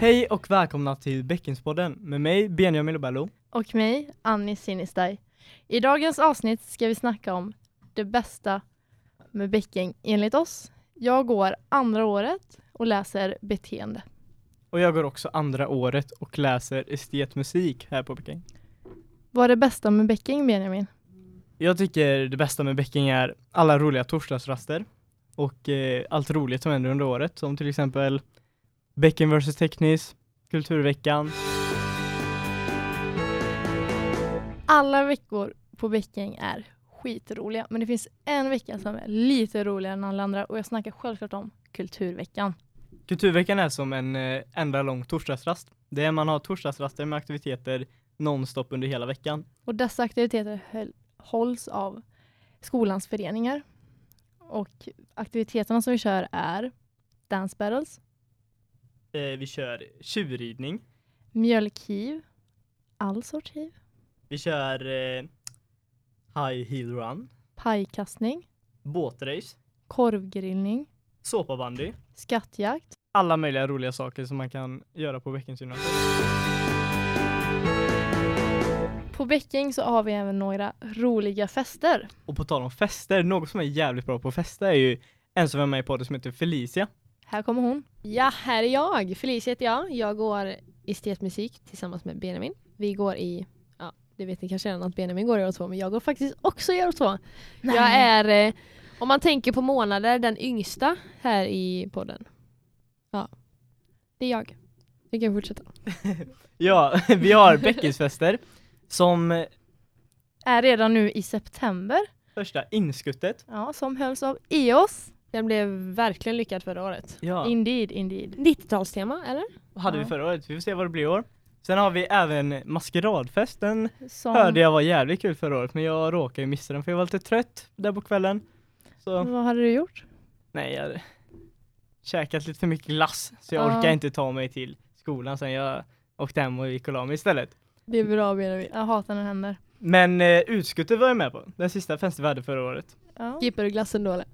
Hej och välkomna till Bäckenspodden med mig Benjamin Lobello. och mig, Annie Sinistaj. I dagens avsnitt ska vi snacka om det bästa med bäcking enligt oss. Jag går andra året och läser beteende. Och jag går också andra året och läser estetmusik här på Bäcking. Vad är det bästa med bäcking, Benjamin? Jag tycker det bästa med Bäcking är alla roliga torsdagsraster och eh, allt roligt som händer under året som till exempel Bäcken vs Teknis, Kulturveckan. Alla veckor på bäcking är skitroliga, men det finns en vecka som är lite roligare än alla andra och jag snackar självklart om Kulturveckan. Kulturveckan är som en eh, enda lång torsdagsrast. Det är man har torsdagsraster med aktiviteter nonstop under hela veckan. Och dessa aktiviteter höll, hålls av skolans föreningar. Och aktiviteterna som vi kör är dance battles, Eh, vi kör tjurridning, mjölkhiv, all sorts hiv, vi kör eh, high heel run, pajkastning, båtrace, korvgrillning, såpabandy, skattjakt. alla möjliga roliga saker som man kan göra på Bäckens gymnasium. På Bäcking så har vi även några roliga fester. Och på tal om fester, något som är jävligt bra på fester är ju en som är med i podden som heter Felicia. Här kommer hon. Ja, här är jag. Felicia heter jag. Jag går estetmusik tillsammans med Benjamin. Vi går i, ja, det vet ni kanske redan att Benjamin går i år två, men jag går faktiskt också i år två. Jag är, eh, om man tänker på månader, den yngsta här i podden. Ja, det är jag. Vi kan fortsätta. Ja, vi har Bäckensfester som eh, är redan nu i september, första inskuttet. ja, som hölls av EOS. Den blev verkligen lyckad förra året. Ja, Indeed, indeed. 90-talstema, eller? och hade vi ja. förra året. Vi får se vad det blir i år. Sen har vi även maskeradfest. Den Som hörde jag var jävligt kul förra året men jag råkade ju missa den för jag var lite trött där på kvällen. Så Vad hade du gjort? nej, jag hade käkat lite för mycket glass så jag Ja. orkade inte ta mig till skolan sen jag åkte hem och gick och la mig istället. Det är bra Benjamin. Jag hatar när det händer. Men eh, utskottet var jag med på, den sista festen vi hade förra året. Ja. Skippar du glassen då eller?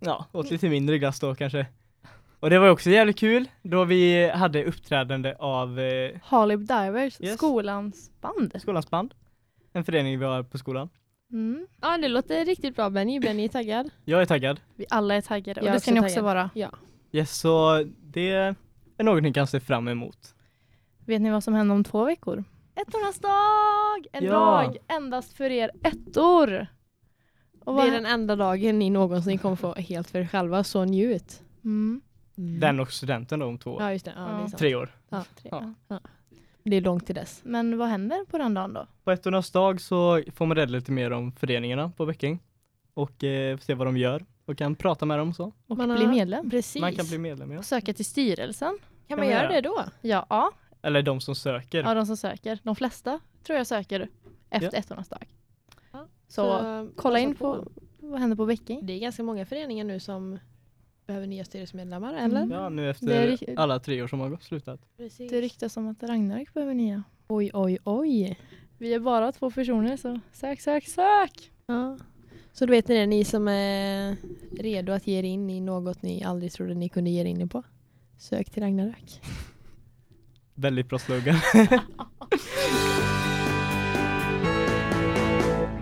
Ja, åt lite mindre glass då kanske. Och det var också jävligt kul då vi hade uppträdande av eh, Harley Divers, Yes. skolans band. skolans band. En förening vi har på skolan. Mm. Ja, det låter riktigt bra Benny. Benny är taggad. Jag är taggad. Vi alla är taggade och Jag är det också ska ni också taggad. vara. Ja. Yes, så det är något ni kan se fram emot. Vet ni vad som händer om två veckor? Ettornas dag! En Ja. dag endast för er ettor! Och Det vad- är den enda dagen ni någonsin kommer få helt för er själva, så njut. mm. Den och studenten då om två år. Ja, just det. Ja, det, är sant. Tre år. Ja, Ja. det är långt till dess. Men vad händer på den dagen då? På ettornas dag så får man reda lite mer om föreningarna på Bäcking. Och eh, se vad de gör och kan prata med dem och så. Och Man har- bli medlem? Precis. Man kan bli medlem ja. Och söka till styrelsen? kan man göra det då? Ja, ja. Eller de som söker. ja de som söker. De flesta tror jag söker efter ettornas dag. Ja. Så, kolla in på, vad händer på Bäcking. Det är ganska många föreningar nu som behöver nya styrelsemedlemmar, Mm. eller? Ja, nu Det är efter rikt- alla tre år som har gått- slutat. Precis. Det ryktas om att Ragnarök behöver nya. Oj, oj, oj. Vi är bara två personer så sök, sök, sök! Ja. Så då vet ni det, ni som är redo att ge er in i något ni aldrig trodde ni kunde ge er in i på. Sök till Ragnarök. Väldigt bra slogan.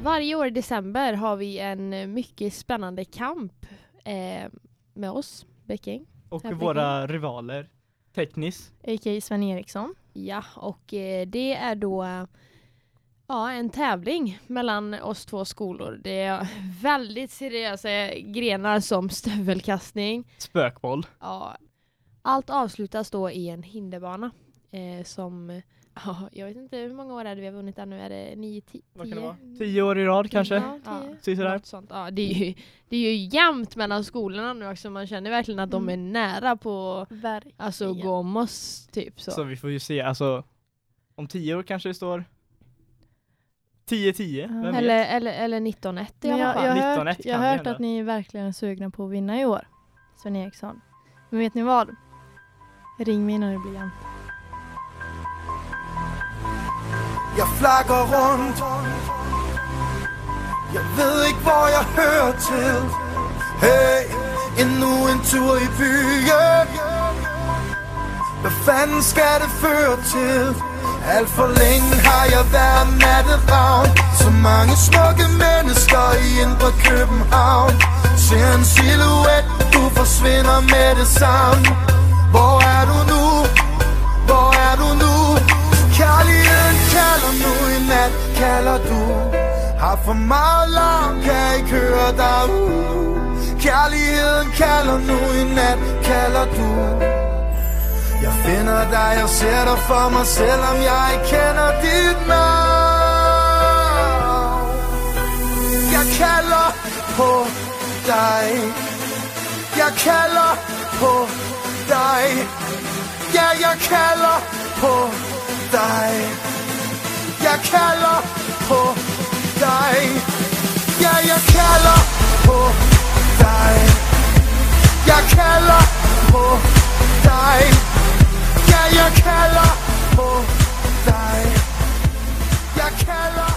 Varje år i december har vi en mycket spännande kamp eh, med oss, Bäcking. Och Tävlingen. våra rivaler, Teknis. A.k.a. Sven Eriksson. Ja, och eh, det är då eh, ja, en tävling mellan oss två skolor. Det är väldigt seriösa grenar som stövelkastning. Spökboll. Ja, allt avslutas då i en hinderbana eh, som Ja, jag vet inte hur många år är det vi har vunnit där nu, är det nio, ti- Vad kan det tio? vara? Tio år i rad kanske? Ja, Ja. tio. Precis sådär. Något sånt. Ja, det, är ju, det är ju jämnt mellan skolorna nu också, man känner verkligen att Mm. de är nära på Verk. alltså, att gå om oss. Typ, så. Så vi får ju se, alltså om tio år kanske det står 10-10, Ja. vem vet? Eller, eller, eller 19-1 i Men alla jag, fall. jag har 19-1 hört, jag kan har det hört hända. att ni verkligen är sugna på att vinna i år, Sven Eriksson. Men vet ni vad? Ring mig innan det blir jämnt. Jeg flakker rundt Jeg ved ikke, hvor jeg hører til Hey, endnu en tur i byen Hvad fanden skal det føre til? Alt for længe har jeg været natteravn Så mange smukke mennesker i indre København Ser en silhuet, du forsvinder med det samme Hvor er du nu? Hvor er du nu? Kærligheden kalder nu i nat, kalder du Har for meget larm, kan ikke høre dig ud Kærligheden kalder nu i nat, kalder du jeg finder dig, jeg ser dig for mig, selvom jeg ikke kender dit navn. Jeg kalder på dig. Jeg kalder på dig. Ja, jeg kalder på dig. Jeg kalder på dig. Ja, jeg kalder på dig. Jeg kalder på dig. Ja, jeg kalder på dig. Jeg kalder